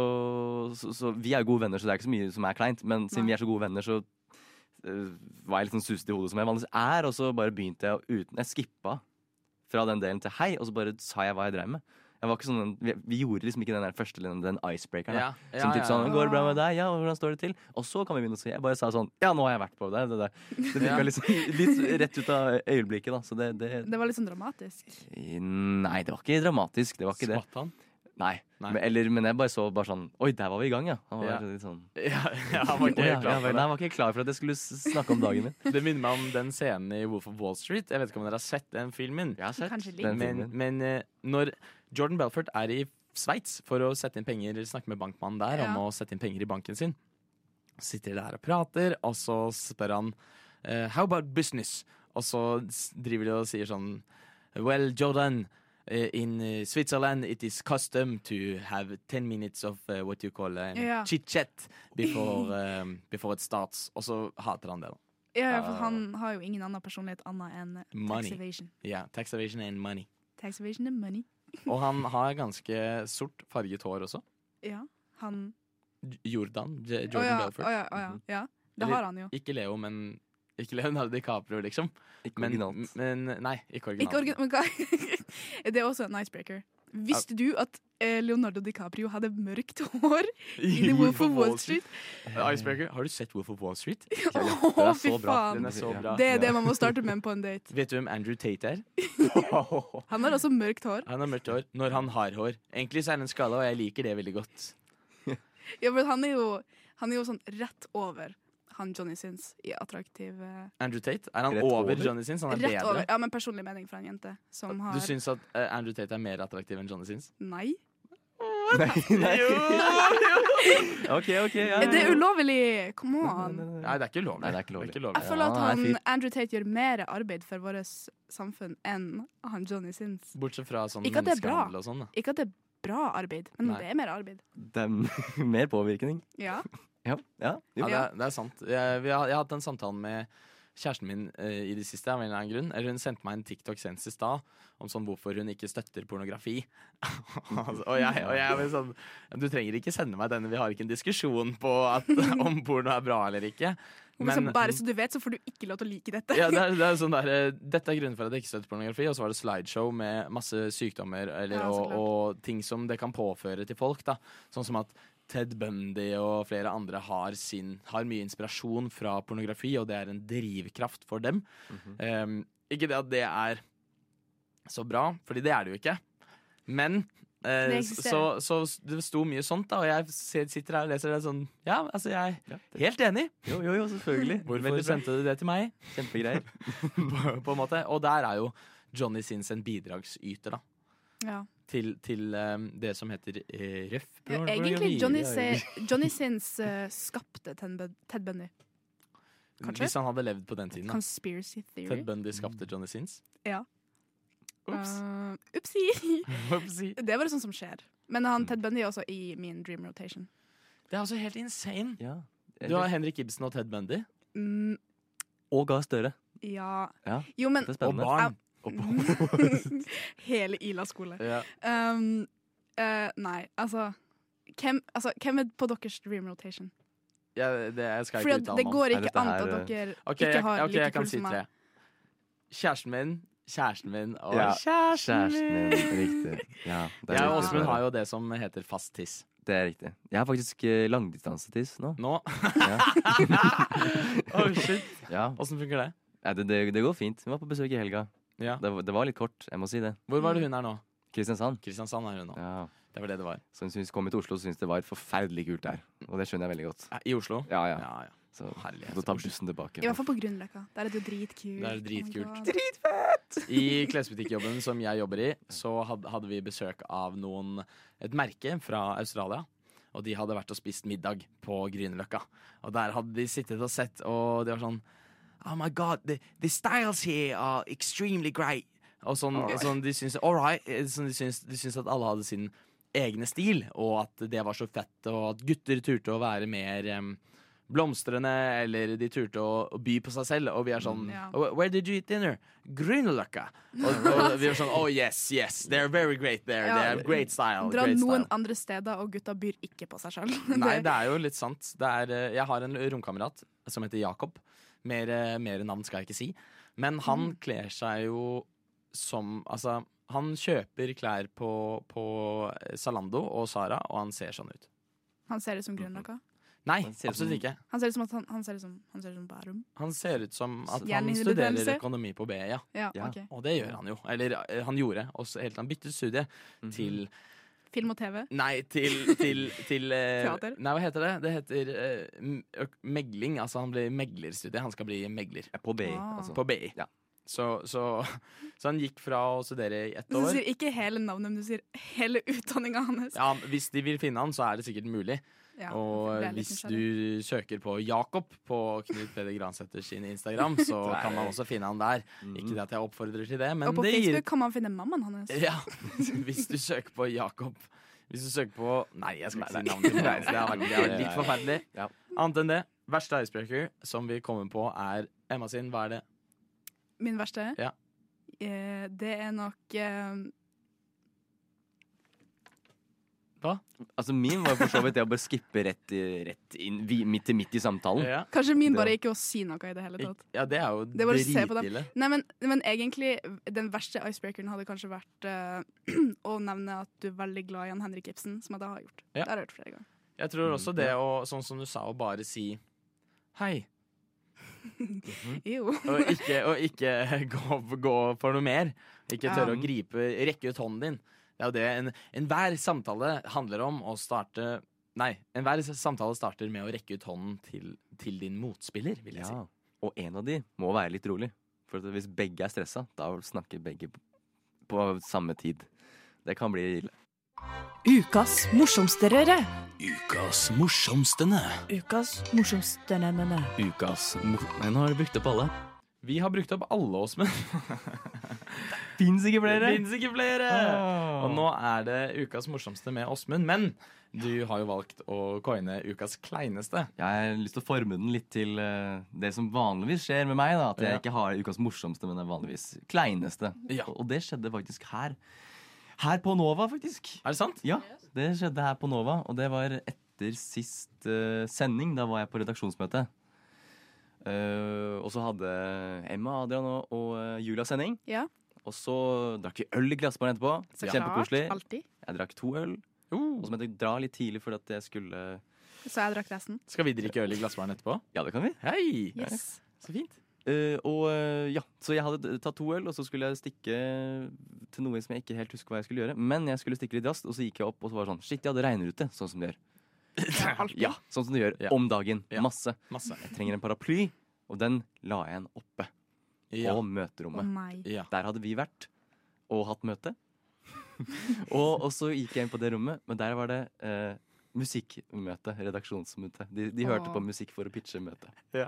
Speaker 4: så, så Vi er jo gode venner Så det er ikke så mye som er kleint Men siden
Speaker 5: Nei.
Speaker 4: vi er så gode venner Så eh, var jeg litt sånn suset i hodet Som jeg vanligvis er Og så bare begynte jeg å uten Jeg skippa fra den delen til hei Og så bare sa jeg hva jeg drev med Jeg var ikke sånn Vi, vi gjorde liksom ikke den der første linjen Den icebreakeren da.
Speaker 2: Ja, ja,
Speaker 4: Som
Speaker 2: ja,
Speaker 4: typ sånn
Speaker 2: ja.
Speaker 4: Går det bra med deg? Ja, hvordan står det til? Og så kan vi begynne å si Jeg bare sa sånn Ja, nå har jeg vært på det
Speaker 5: <laughs>
Speaker 4: Det, det, det. det
Speaker 2: Ja.
Speaker 4: fikk jeg liksom litt rett ut av øyeblikket da Så det, det
Speaker 5: Det var litt sånn dramatisk.
Speaker 4: Nei, det var ikke dramatisk Det var ikke det <laughs>
Speaker 2: Skvatt han?
Speaker 4: Nei.
Speaker 2: Nei.
Speaker 4: Men, eller, men jeg bare så bare sånn Oi, der var vi i gang, ja. Han var
Speaker 2: Ja.
Speaker 4: litt sånn
Speaker 2: Ja, ja, han
Speaker 4: «Å,
Speaker 2: var ikke
Speaker 4: ja,
Speaker 2: helt
Speaker 4: ja,
Speaker 2: klar
Speaker 4: vel,
Speaker 2: for
Speaker 4: nei,
Speaker 2: det.
Speaker 4: jeg var ikke klar for at jeg skulle s- snakke om dagen min.
Speaker 2: Det minner meg om den scenen i Wolf of Wall Street. Jeg vet ikke om dere har sett den filmen.
Speaker 4: Jeg har sett
Speaker 5: Kanskje litt.
Speaker 4: den
Speaker 2: Men,
Speaker 4: filmen.
Speaker 2: men eh, når Jordan Belfort er i Sveits for å sette inn penger, eller snakke med bankmannen der om
Speaker 5: Ja.
Speaker 2: å sette inn penger i banken sin, sitter der og prater, og så spør han eh, How about business? Og så s- driver de og sier sånn Well, Jordan, eh, in eh, Switzerland it is custom to have 10 minutes of eh, what you call eh,
Speaker 5: Ja.
Speaker 2: chit-chat before, eh, before it starts. Og så hater han det, da.
Speaker 5: Ja, ja, for han har jo ingen annen personlighet annet enn
Speaker 2: Ah. Money.
Speaker 5: tax evasion.
Speaker 2: Ja, tax evasion and money.
Speaker 5: Tax evasion er money.
Speaker 2: Og han har ganske sort farget hår også.
Speaker 5: Ja, han
Speaker 2: J- Jordan. J
Speaker 5: Å
Speaker 2: Jordan
Speaker 5: ja,
Speaker 2: Belfort. Mhm.
Speaker 5: å ja, å ja, ja. Det
Speaker 2: Eller-
Speaker 5: har han jo.
Speaker 2: Ikke Leo, men Ikke Leonardo DiCaprio, liksom.
Speaker 4: Ikke
Speaker 2: <laughs> Men, <laughs>
Speaker 4: originalt.
Speaker 2: men Nei, ikke originalt.
Speaker 5: Ikke organ...
Speaker 2: <laughs>
Speaker 5: Men hva- <laughs> det er også en icebreaker. Visste du at eh, Leonardo DiCaprio hadde mørkt hår
Speaker 2: <laughs>
Speaker 5: i The Wolf of Wall Street?
Speaker 2: Eh, Icebreaker. Har du sett Wolf of Wall Street?
Speaker 5: Å,
Speaker 4: Den er
Speaker 5: fy
Speaker 4: så bra.
Speaker 5: faen!
Speaker 2: Den er så bra.
Speaker 5: Det er det man må starte med på en date.
Speaker 2: Vet du hvem Andrew Tate er?
Speaker 5: Han har også mørkt hår.
Speaker 2: Han har mørkt hår når han har hår. Egentlig så er det en skala, og jeg liker det veldig godt.
Speaker 5: Ja, men han er jo, han er jo sånn rett over han Johnny Sins i attraktiv eh,
Speaker 2: Andrew Tate? Er han
Speaker 4: Rett
Speaker 2: over,
Speaker 4: over?
Speaker 2: Johnny Sins? Han er
Speaker 5: Rett over.
Speaker 2: bedre.
Speaker 5: Ja, men personlig mening fra en jente som har
Speaker 2: Du syns at eh, Andrew Tate er mer attraktiv enn Johnny Sins?
Speaker 5: Nei.
Speaker 4: Nei, nei. <laughs> OK, OK. Ja,
Speaker 5: Er det
Speaker 4: ja.
Speaker 5: ulovlig? Come on.
Speaker 2: Nei, det er ikke ulovlig.
Speaker 4: Nei, det er ikke lovlig.
Speaker 5: Jeg føler
Speaker 4: Ja,
Speaker 5: at
Speaker 4: han er
Speaker 5: han,
Speaker 4: fin.
Speaker 5: Andrew Tate gjør mer arbeid for vårt samfunn enn han Johnny Sins.
Speaker 2: Bortsett fra sånn
Speaker 5: Ikke at det er bra.
Speaker 2: menneskehandel og sånn. da.
Speaker 5: Ikke at det er bra arbeid, men
Speaker 2: Nei.
Speaker 4: <laughs>
Speaker 5: det er mer arbeid.
Speaker 4: Det er mer påvirkning.
Speaker 5: Ja.
Speaker 4: Ja, ja,
Speaker 2: Ja,
Speaker 4: jo.
Speaker 2: det, er, det er sant. Jeg, vi har, jeg har hatt den samtalen med kjæresten min eh, i det siste. Av en eller annen grunn Eller Hun sendte meg en TikTok senest i stad om sånn hvorfor hun ikke støtter pornografi. <laughs> Altså, og jeg, og jeg var sånn Du trenger ikke sende meg denne, vi har ikke en diskusjon på at, <laughs> om porno er bra eller ikke.
Speaker 5: så bare så du vet, så får du ikke lov til å like dette.
Speaker 2: ja,
Speaker 5: <laughs>
Speaker 2: det er, det er sånn der, eh, dette er grunnen for at jeg ikke støtter pornografi. Og så var det slideshow med masse sykdommer eller,
Speaker 5: Ja, så
Speaker 2: og, og ting som det kan påføre til folk. Da. Sånn som at Ted Bundy og flere andre har, sin, har mye inspirasjon fra pornografi, og det er en drivkraft for dem. Ehm, ikke det at det er så bra, fordi det er det jo ikke. Men
Speaker 5: Det
Speaker 2: eh, så,
Speaker 5: eksisterer.
Speaker 2: så det sto mye sånt, da, og jeg ser- sitter her og leser det sånn Ja, altså, jeg er helt enig.
Speaker 4: Jo, jo, selvfølgelig. Veldig
Speaker 2: <laughs> Hvorfor
Speaker 4: bra.
Speaker 2: sendte du det til meg?
Speaker 4: Kjempegreier.
Speaker 2: <laughs> på, på en måte. Og der er jo Johnny Sins en bidragsyter, da.
Speaker 5: Ja.
Speaker 2: Til, til um, det som heter eh, røff
Speaker 5: Ja, egentlig Johnny, se, <laughs> Johnny Sins eh, skapte Ted Bun- Ted Bundy. kanskje?
Speaker 2: Hvis han hadde levd på den tiden. Da.
Speaker 5: Conspiracy theory.
Speaker 2: Ted Bundy skapte Johnny Sins.
Speaker 5: Ja.
Speaker 2: Ups.
Speaker 5: Eh, Upsi! <laughs>
Speaker 2: Upsi.
Speaker 5: det er bare sånt som skjer. Men han Ted Bundy er også i min dream rotation.
Speaker 2: Det er altså helt insane.
Speaker 4: Jeg-
Speaker 2: <laughs> Du har Henrik Ibsen og Ted Bundy.
Speaker 5: Mm,
Speaker 4: Og Gahr Støre.
Speaker 5: ja
Speaker 4: Ja,
Speaker 5: Jo, men
Speaker 4: dette er spennende.
Speaker 5: Jeg-
Speaker 4: Og
Speaker 5: <laughs>
Speaker 4: barn.
Speaker 5: Hele Ila skole.
Speaker 4: Ja.
Speaker 5: Um, eh, nei, altså hvem, altså hvem er på deres dream rotation?
Speaker 2: Ja, det jeg skal
Speaker 5: Fordi
Speaker 2: ikke
Speaker 5: at
Speaker 2: uttale
Speaker 5: det
Speaker 2: meg om.
Speaker 5: går ikke Nei, dette an at her, eh? dere
Speaker 2: eh, Ok,
Speaker 5: ikke
Speaker 2: jeg-
Speaker 5: har
Speaker 2: ok,
Speaker 5: like
Speaker 2: jeg kan
Speaker 5: kul
Speaker 2: si
Speaker 5: som meg.
Speaker 2: tre. Kjæresten min, kjæresten min og
Speaker 4: Ja,
Speaker 2: kjæresten min.
Speaker 4: Riktig. Ja, det er
Speaker 2: Jeg og
Speaker 4: riktig,
Speaker 2: Åsmund
Speaker 4: Sverre.
Speaker 2: har jo det som heter fast tiss.
Speaker 4: Det er riktig. Jeg har faktisk eh, langdistansetiss nå.
Speaker 2: Nå? <laughs>
Speaker 4: oh,
Speaker 2: shit.
Speaker 4: Ja.
Speaker 2: Åssen funker det?
Speaker 4: Nei, det, det? Det går fint. Hun var på besøk i helga. Det, var- det var litt kort, jeg må si det.
Speaker 2: Hvor var det hun er nå?
Speaker 4: Kristiansand.
Speaker 2: Kristiansand er hun nå.
Speaker 4: Ja.
Speaker 2: Det var det det var.
Speaker 4: Så hun syntes, kom hit til Oslo og syntes det var forferdelig kult der. Og det skjønner jeg veldig godt.
Speaker 2: I Oslo?
Speaker 4: Ja, ja. Så måtte ta bussen
Speaker 5: I
Speaker 4: tilbake.
Speaker 5: hvert fall på Grünerløkka. Der er det jo dritkult.
Speaker 2: Det er
Speaker 5: Oh
Speaker 2: dritkult.
Speaker 5: my god.
Speaker 2: <laughs> I klesbutikkjobben som jeg jobber i, så had- hadde vi besøk av noen et merke fra Australia. Og de hadde vært og spist middag på Grünerløkka. Og der hadde de sittet og sett, og de var sånn Oh my god, the, the styles here are extremely great. Og sånn,
Speaker 8: Alright.
Speaker 2: sånn de syns All right. eh, Sånn de, syns, de syns at alle hadde sin egne stil, og at det var så fett, og at gutter turte å være mer em, blomstrende, eller de turte å, å by på seg selv. Og vi er sånn
Speaker 8: Ja.
Speaker 2: "Wh- Where did you eat dinner? Grünerløkka. Og,
Speaker 5: <laughs>
Speaker 2: og vi er sånn Oh yes, yes. They're very great there.
Speaker 5: Ja.
Speaker 2: They have great style.
Speaker 5: Dra
Speaker 2: great
Speaker 5: noen
Speaker 2: style.
Speaker 5: andre steder, og gutta byr ikke på seg <laughs> sjøl.
Speaker 2: Nei, det er jo litt sant. Det er, eh, jeg har en romkamerat som heter Jakob. Mer, eh, mer navn skal jeg ikke si. Men
Speaker 5: Mm.
Speaker 2: han kler seg jo som Altså, han kjøper klær på, på eh, Zalando og Sara, og han ser sånn ut.
Speaker 5: Han ser ut som Grünerløkka.
Speaker 2: Nei, absolutt ikke.
Speaker 5: Han ser ut som, at han, han ser ut som, han ser ut som Bærum.
Speaker 2: Han ser ut som at han
Speaker 5: Hjerneindividualisert?
Speaker 2: studerer økonomi på BI, ja.
Speaker 5: Ja, ok.
Speaker 2: Og det gjør han jo. Eller eh, han gjorde, og så helt til han byttet studie
Speaker 4: Mm.
Speaker 5: Mm.
Speaker 2: til
Speaker 5: Film og TV.
Speaker 2: Nei, til, til, til eh,
Speaker 5: Teater?
Speaker 2: Nei, hva heter det? Det heter eh, m- øk- megling. Altså han blir meglerstudie. Han skal bli megler.
Speaker 4: På BI,
Speaker 5: Ah. altså.
Speaker 2: På BI. Så, så, så han gikk fra å studere i ett
Speaker 5: Du
Speaker 2: år
Speaker 5: sier ikke hele navnet, men du sier hele utdanninga hans.
Speaker 2: ja, Hvis de vil finne han, så er det sikkert mulig.
Speaker 5: Ja,
Speaker 2: og
Speaker 5: jeg ble litt
Speaker 2: hvis du søker på Jakob på Knut Peder Gransæter sin Instagram, så
Speaker 5: <laughs> Der.
Speaker 2: kan man også finne han der. Ikke det at jeg oppfordrer til det, men
Speaker 5: og på
Speaker 2: det
Speaker 5: Facebook
Speaker 2: gir
Speaker 5: kan man finne mammaen hans.
Speaker 2: <laughs> Ja, hvis du søker på Jakob Hvis du søker på Nei, jeg skal
Speaker 4: Nei,
Speaker 2: ikke si navnet til
Speaker 4: nei.
Speaker 2: deg, så det er- det er litt
Speaker 4: Nei.
Speaker 2: forferdelig.
Speaker 4: Ja.
Speaker 2: Annet enn det, verste icebreaker som vi kommer på, er Emma sin. Hva er det?
Speaker 5: Min verste.
Speaker 2: Ja.
Speaker 5: Eh, det er nok eh,
Speaker 4: Altså Min var for så vidt det å bare skippe rett, i- rett inn, vi, midt, i, midt i samtalen.
Speaker 5: Kanskje min
Speaker 4: Det-
Speaker 5: bare ikke å si noe i det hele tatt.
Speaker 2: Ja, det er jo
Speaker 5: Det er bare å se på dem.
Speaker 4: dritille.
Speaker 5: Nei, men, men egentlig, den verste icebreakeren hadde kanskje vært eh, <clears throat> å nevne at du er veldig glad i han Henrik Ibsen, som jeg da har gjort.
Speaker 2: Ja.
Speaker 5: Det har jeg hørt flere ganger.
Speaker 2: Jeg
Speaker 4: Mm,
Speaker 2: tror også det å, sånn som du sa, å bare si hei.
Speaker 5: Jo.
Speaker 2: Og ikke, og ikke <laughs> gå, gå for noe mer. Ikke tørre å
Speaker 5: Ja.
Speaker 2: gripe, rekke ut hånden din. Det er jo det en- enhver samtale handler om å starte Nei, enhver samtale starter med å rekke ut hånden til, til din motspiller, vil jeg
Speaker 4: Ja.
Speaker 2: si.
Speaker 4: Og en av de må være litt rolig. For at hvis begge er stressa, da snakker begge på- på samme tid. Det kan bli ille.
Speaker 6: Ukas morsomsterere.
Speaker 2: Ukas morsomstene.
Speaker 6: Ukas morsomsterene.
Speaker 4: Ukas mor... Nei, nå har du brukt opp alle.
Speaker 2: Vi har brukt opp alle oss menn.
Speaker 4: Fins ikke <laughs> flere. Ah.
Speaker 2: Det finnes ikke flere!
Speaker 4: Åh.
Speaker 2: Og nå er det ukas morsomste med Åsmund, men du har jo valgt å coine ukas kleineste.
Speaker 4: Jeg har lyst til å forme den litt til eh, det som vanligvis skjer med meg. da At jeg
Speaker 2: Ja.
Speaker 4: ikke har ukas morsomste, men den vanligvis kleineste. Og det skjedde faktisk her. Her på Nova, faktisk.
Speaker 2: Er det sant?
Speaker 4: Ja, det skjedde her på Nova. Og det var etter sist eh, sending. Da var jeg på redaksjonsmøte. Eh, og så hadde Emma, Adrian og, og eh, Julia sending.
Speaker 5: Ja.
Speaker 4: Og så drakk vi øl i glassbaren etterpå.
Speaker 5: Så
Speaker 4: Kjempekoselig.
Speaker 5: klart, alltid.
Speaker 4: Jeg drakk to øl. Og så måtte jeg dra litt tidlig fordi at jeg skulle
Speaker 5: Så jeg drakk resten.
Speaker 2: Skal vi drikke øl i glassbaren etterpå?
Speaker 4: Ja, det kan vi.
Speaker 2: Hei!
Speaker 5: Yes.
Speaker 2: Så fint.
Speaker 4: og eh, ja, Så jeg hadde tatt to øl, og så skulle jeg stikke til noe som jeg ikke helt husker hva jeg skulle gjøre. Men jeg skulle stikke litt raskt, og så gikk jeg opp og så var det sånn Shit, ja, det regner ute. Sånn som det gjør. Ja, sånn som det gjør om dagen. Masse.
Speaker 2: Masse.
Speaker 4: Jeg trenger en paraply, og den la jeg igjen oppe
Speaker 2: Ja.
Speaker 4: på
Speaker 5: Å,
Speaker 4: møterommet.
Speaker 5: nei.
Speaker 4: Der hadde vi vært og hatt møte. <laughs> og, og så gikk jeg inn på det rommet, men der var det eh, musikkmøte. Redaksjonsmøte. De, de hørte
Speaker 5: Åh.
Speaker 4: på musikk for å pitche møte.
Speaker 2: Ja.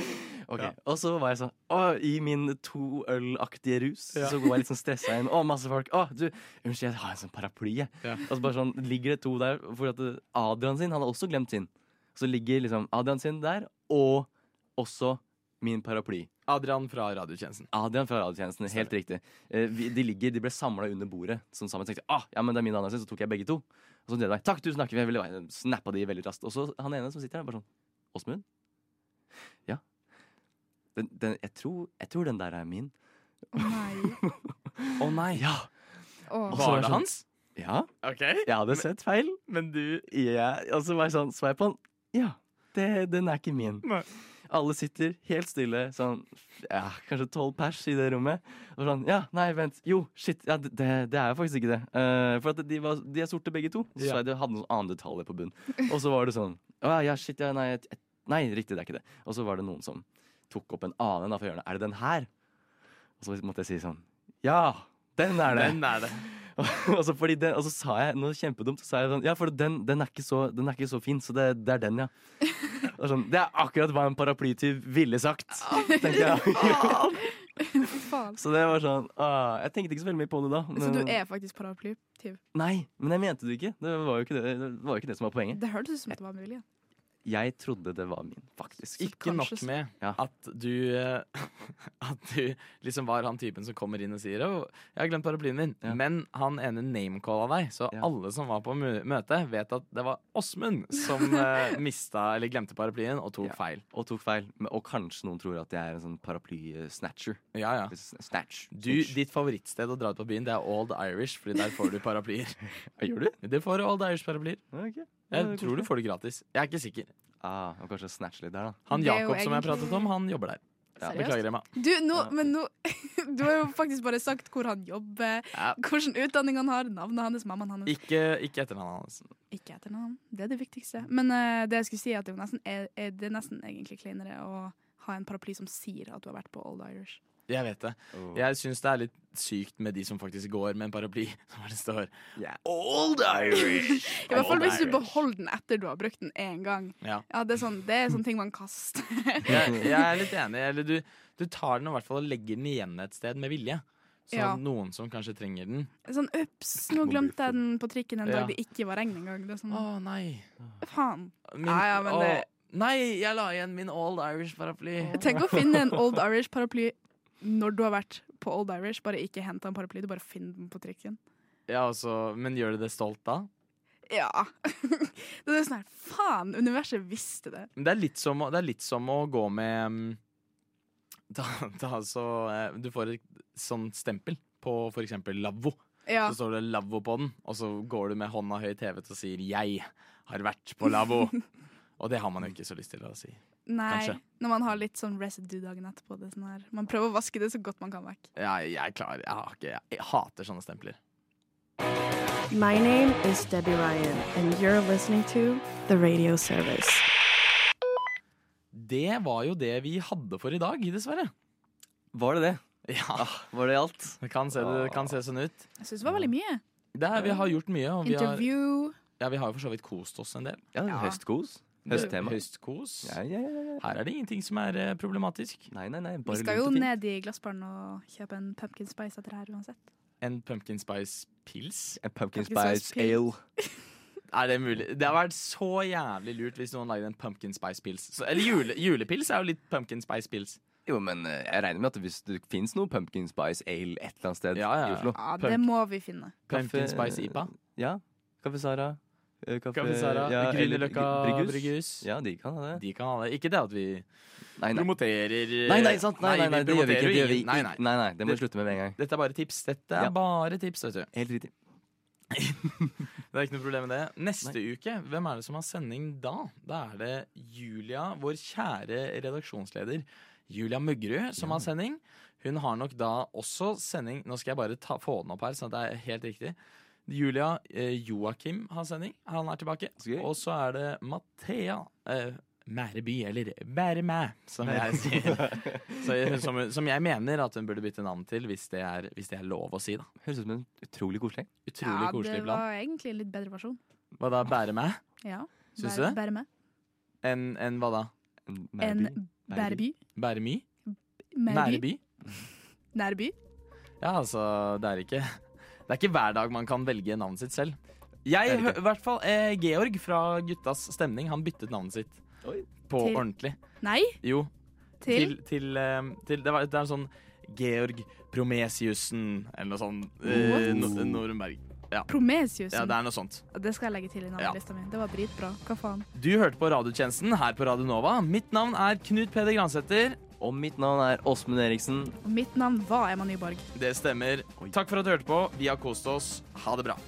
Speaker 4: <laughs> Ok, Og så var jeg sånn å, I min to øl-aktige rus
Speaker 2: Ja.
Speaker 4: så går jeg litt sånn stressa inn. Å, masse folk. Å, du, unnskyld, jeg har en sånn paraply, jeg. Og så bare sånn ligger det to der. For at det- Adrian sin han har også glemt sin. Så ligger liksom Adrian sin der, og også min paraply.
Speaker 2: Adrian fra radiotjenesten.
Speaker 4: Adrian fra radiotjenesten, helt riktig. Eh, vi, de ligger, de ble samla under bordet sånn sammen. Tenkte, ah, ja, men det er min og Adrian sin, så tok jeg begge to. Og så delte jeg, takk, tusen takk. Jeg ville bare- snappa de veldig raskt. Og så han ene som sitter her, bare sånn, Åsmund? Ja. Den, den, jeg, tror, jeg tror den der er min.
Speaker 5: Å nei.
Speaker 2: Å nei.
Speaker 4: Ja.
Speaker 5: Å.
Speaker 4: Og så
Speaker 2: <laughs> Var
Speaker 4: jeg
Speaker 2: det
Speaker 4: sånn,
Speaker 2: hans?
Speaker 4: Ja.
Speaker 2: Ok.
Speaker 4: Jeg hadde sett feil.
Speaker 2: Men du
Speaker 4: Jeg, og så var jeg sånn, så var jeg på den. Ja, det, den er ikke min.
Speaker 2: Nei.
Speaker 4: Alle sitter helt stille, sånn ja, kanskje tolv pers i det rommet. Og sånn, ja, nei, vent, jo, shit, ja, det, det er jo faktisk ikke det. Eh, for at de, var, de er sorte begge to. Så
Speaker 2: Ja.
Speaker 4: sa jeg de hadde noen andre detaljer på bunn. Og så var det sånn, å, ja, shit, ja, nei, et, et, nei, riktig, det er ikke det. Og så var det noen som tok opp en annen da fra hjørnet. Er det den her? Og så måtte jeg si sånn, ja, den er det.
Speaker 2: Den er det.
Speaker 4: <laughs> og, så Altså, fordi den, og så sa jeg noe kjempedumt. Så sa jeg sånn, ja, for den, den, er ikke så, den er ikke så fin, så det, det er den, ja. Og sånn, det er akkurat hva en paraplytyv ville sagt, tenkte jeg.
Speaker 5: Fy faen.
Speaker 4: så det var sånn ah, Jeg tenkte ikke så veldig mye på det da.
Speaker 5: Så du
Speaker 2: eh,
Speaker 5: er faktisk paraplytyv?
Speaker 4: Nei, men jeg mente det ikke. Det var jo ikke det, det, var jo ikke det som var poenget.
Speaker 5: Det hørtes ut som at det var med vilje.
Speaker 4: Jeg trodde det var min, faktisk.
Speaker 2: Ikke nok
Speaker 5: Kanskje-
Speaker 2: med
Speaker 4: Ja.
Speaker 2: at du eh, <laughs> At du liksom var han typen som kommer inn og sier Å, jeg har glemt paraplyen min. Men han ene namecalla deg, så
Speaker 4: Ja.
Speaker 2: alle som var på mø- møtet, vet at det var Åsmund som eh, mista eller glemte paraplyen og tok
Speaker 4: Ja.
Speaker 2: feil.
Speaker 4: Og tok feil. Men- Og kanskje noen tror at jeg er en sånn paraply-snatcher.
Speaker 2: Ja, ja.
Speaker 4: Snatch.
Speaker 2: Du, ditt favorittsted å dra ut på byen, det er Old Irish, Fordi der får du paraplyer.
Speaker 4: <laughs> Gjør du?
Speaker 2: Det får du Old Irish-paraplyer.
Speaker 4: Ok. Ja, det
Speaker 2: Jeg
Speaker 4: er
Speaker 2: tror du
Speaker 4: koselig.
Speaker 2: får det gratis. Jeg er ikke sikker.
Speaker 4: Ah, og kanskje snatch litt der, da.
Speaker 2: Han
Speaker 5: Det er jo
Speaker 2: Jakob som jeg
Speaker 5: egentlig-
Speaker 2: pratet om, han jobber der.
Speaker 4: Ja.
Speaker 2: Beklager, Emma.
Speaker 5: Du, nå, men nå <laughs> Du har jo faktisk bare sagt hvor han jobber,
Speaker 2: Ja.
Speaker 5: hvilken utdanning han har, navnet hans, mammaen hans.
Speaker 2: Ikke, ikke etternavnet hans.
Speaker 5: Ikke etternavn. Det er det viktigste. Men eh, det jeg skulle si er at det er, jo nesten, er, er det er nesten egentlig kleinere å ha en paraply som sier at du har vært på Old Irish.
Speaker 2: Jeg vet det.
Speaker 4: Oh.
Speaker 2: Jeg syns det er litt sykt med de som faktisk går med en paraply. <laughs> Som det står
Speaker 4: Yeah.
Speaker 2: Old Irish!
Speaker 5: <laughs> I hvert fall hvis du beholder den etter du har brukt den én gang.
Speaker 2: Ja.
Speaker 5: Ja, Det er sånn, det er sånne ting man kaster. <laughs>
Speaker 2: Jeg, jeg er litt enig. Eller du, du tar den og, i hvert fall, og legger den igjen et sted med vilje. Sånn
Speaker 5: Ja.
Speaker 2: at noen som kanskje trenger den
Speaker 5: Sånn, Ups, nå glemte jeg den på trikken en
Speaker 2: Ja.
Speaker 5: dag det ikke var regn engang. Det er sånn,
Speaker 2: Å, nei.
Speaker 5: faen.
Speaker 2: Min,
Speaker 5: Ja, ja, men
Speaker 2: å,
Speaker 5: det-
Speaker 2: Nei, jeg la igjen min Old Irish-paraply.
Speaker 5: Tenk å finne en Old Irish-paraply når du har vært på Old Irish. Bare ikke hent en paraply, du bare finner den på trikken.
Speaker 2: Ja, altså, men gjør du det stolt da?
Speaker 5: Ja. <laughs> det er sånn her, faen, universet visste det.
Speaker 2: Men Det er litt som, å- det er litt som å gå med mm, <laughs> ta, ta, så, eh, Du får et sånt stempel på for eksempel lavvo.
Speaker 5: Ja.
Speaker 2: Så står det lavvo på den, og så går du med hånda høyt hevet og sier 'jeg har vært på lavvo'. og det har man jo ikke så lyst til å si.
Speaker 5: Nei,
Speaker 2: Kanskje.
Speaker 5: når man har litt sånn residue dagen etterpå. Det er sånn her. Man prøver å vaske det så godt man kan vekk.
Speaker 2: Jeg, jeg klarer jeg, har ikke, jeg, jeg hater sånne stempler.
Speaker 1: My name is Debbie Ryan, and you're listening to The Radio Service.
Speaker 2: Det var jo det vi hadde for i dag, dessverre.
Speaker 4: Var det det?
Speaker 2: <laughs> Ja,
Speaker 4: Var det alt?
Speaker 2: det kan se, det kan se sånn ut.
Speaker 5: Jeg syns det var veldig mye.
Speaker 2: Det er, vi har gjort mye, og vi har,
Speaker 5: Interview.
Speaker 2: ja, vi har jo for så vidt kost oss en del.
Speaker 4: Ja,
Speaker 5: Ja.
Speaker 4: høstkos. Høsttema.
Speaker 2: Høstkos.
Speaker 4: Ja, ja, ja, ja.
Speaker 2: Her er det ingenting som er eh, problematisk.
Speaker 4: Nei, nei, nei.
Speaker 5: Vi
Speaker 4: Bare
Speaker 5: skal jo
Speaker 4: lunt og fint.
Speaker 5: ned i glassbaren og kjøpe en pumpkin spice etter det her uansett.
Speaker 2: En pumpkin spice pils?
Speaker 4: En pumpkin
Speaker 5: Pumpkin
Speaker 4: spice
Speaker 5: spice
Speaker 4: ale.
Speaker 2: Er det mulig? Det har vært så jævlig lurt hvis noen lagde en pumpkin spice pils. Så, eller jule, julepils er jo litt pumpkin spice pils.
Speaker 4: Jo, men eh, jeg regner med at hvis det fins noe pumpkin spice ale et eller annet sted
Speaker 2: Ja, ja.
Speaker 4: i Oslo
Speaker 5: Ja, det må vi finne.
Speaker 2: Pumpkin
Speaker 4: Kaffe-
Speaker 2: spice IPA.
Speaker 4: Ja. Kaffe Sara. eh,
Speaker 2: Kaffe Sara,
Speaker 4: ja, eller
Speaker 2: Grünerløkka
Speaker 4: Brygghus.
Speaker 2: Brygghus.
Speaker 4: Ja, de kan ha det.
Speaker 2: De kan ha det. Ikke det at vi
Speaker 4: Nei, nei.
Speaker 2: promoterer eh,
Speaker 4: Nei, nei, sant. Nei, nei, nei, det gjør vi
Speaker 2: promoterer
Speaker 4: ikke. Det,
Speaker 2: jo
Speaker 4: gjør vi
Speaker 2: ingen-
Speaker 4: ikke.
Speaker 2: Nei, nei.
Speaker 4: Nei, nei, det må vi slutte med med en gang.
Speaker 2: Dette er bare tips. Dette er
Speaker 4: Ja.
Speaker 2: bare tips, vet du.
Speaker 4: Helt <laughs> riktig.
Speaker 2: Det er ikke noe problem med det. Neste uke, hvem er det som har sending da? Da er det Julia, vår kjære redaksjonsleder, Julia Møggerud, som har sending. Hun har nok da også sending Nå skal jeg bare ta, få den opp her, sånn at det er helt riktig. Julia eh, Joakim har sending. Han er tilbake.
Speaker 4: Så gøy.
Speaker 2: Og så er det Mathea eh, Mæreby, eller Mæremæ, som
Speaker 4: <laughs>
Speaker 2: jeg sier. Så, jeg- som, som jeg mener at hun burde bytte navn til, hvis det er, hvis det er lov å si, da.
Speaker 4: Høres ut som en utrolig koselig gjeng.
Speaker 2: Utrolig
Speaker 5: ja,
Speaker 2: koselig
Speaker 5: det
Speaker 2: plan.
Speaker 5: var egentlig en litt bedre versjon.
Speaker 2: Hva da, Bæremæ?
Speaker 5: Ja.
Speaker 2: Syns
Speaker 5: Bære-
Speaker 2: du det?
Speaker 5: Bære med.
Speaker 2: Enn enn hva da?
Speaker 5: En
Speaker 4: Mæreby.
Speaker 5: bæreby.
Speaker 2: Bæremy?
Speaker 5: Nærby.
Speaker 2: Nærby?
Speaker 5: Nærby.
Speaker 2: Ja, altså, det er ikke <laughs> Det er ikke hver dag man kan velge navnet sitt selv. Jeg, hø- i hvert fall, eh, Georg fra Guttas Stemning, han byttet navnet sitt.
Speaker 4: Oi.
Speaker 2: På
Speaker 5: Til-
Speaker 2: ordentlig.
Speaker 5: Nei,
Speaker 2: Jo.
Speaker 5: til,
Speaker 2: Til, til, eh, til det, var, det er en sånn Georg Promesiussen, eller noe sånt. Eh, no, Norenberg.
Speaker 5: Promesiusen.
Speaker 2: Ja, det er noe sånt.
Speaker 5: Det skal jeg legge til i navnelista mi. Det var dritbra. Hva faen?
Speaker 2: Du hørte på Radiotjenesten her på Radio Nova. Mitt navn er Knut Peder Gransæter.
Speaker 4: Og mitt navn er Åsmund Eriksen.
Speaker 5: Og mitt navn var Emma Nyborg.
Speaker 2: Det stemmer. Takk for at du hørte på. Vi har kost oss. Ha det bra.